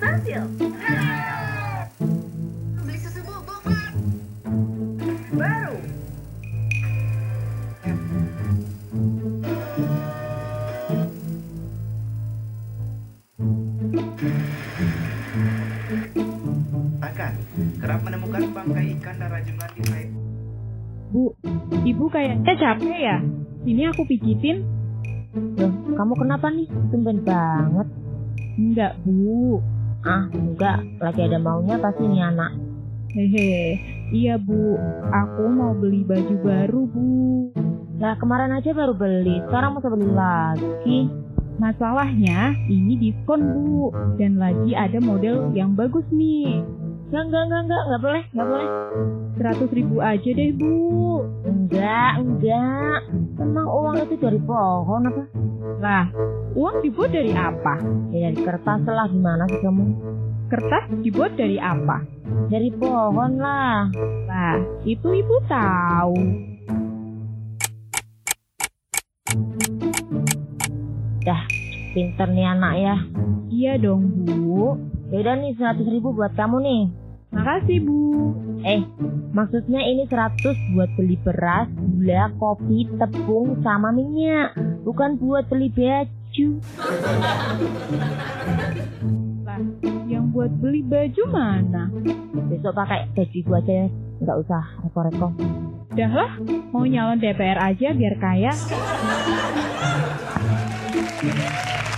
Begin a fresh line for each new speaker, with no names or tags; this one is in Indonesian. Sabil. Beli susu bubuk. Baru.
Akan kerap menemukan bangkai ikan dan rajungan di sayap
Bu, ibu kayaknya capek ya. Ini aku pijitin.
Loh, kamu kenapa nih? Tumben banget.
Enggak, Bu.
Ah, enggak. Lagi ada maunya pasti nih anak.
Hehe. Iya, Bu. Aku mau beli baju baru, Bu.
Lah, kemarin aja baru beli. Sekarang mau beli lagi.
Masalahnya, ini diskon, Bu. Dan lagi ada model yang bagus nih.
Enggak, enggak, enggak, enggak. Enggak boleh, enggak boleh.
100 ribu aja deh, Bu.
Enggak, enggak. Emang uang itu dari pohon apa?
Lah, uang dibuat dari apa?
Ya dari kertas lah gimana sih kamu?
Kertas dibuat dari apa?
Dari pohon lah.
Lah, itu ibu tahu.
Pinter nih anak ya.
Iya dong, Bu.
Yaudah nih 100 ribu buat kamu nih.
Makasih, Bu.
Eh, maksudnya ini 100 buat beli beras, gula, kopi, tepung, sama minyak. Bukan buat beli baju.
Yang buat beli baju mana?
Besok pakai baju ibu aja ya. Nggak usah reko-reko.
Dah lah, mau nyalon DPR aja biar kaya.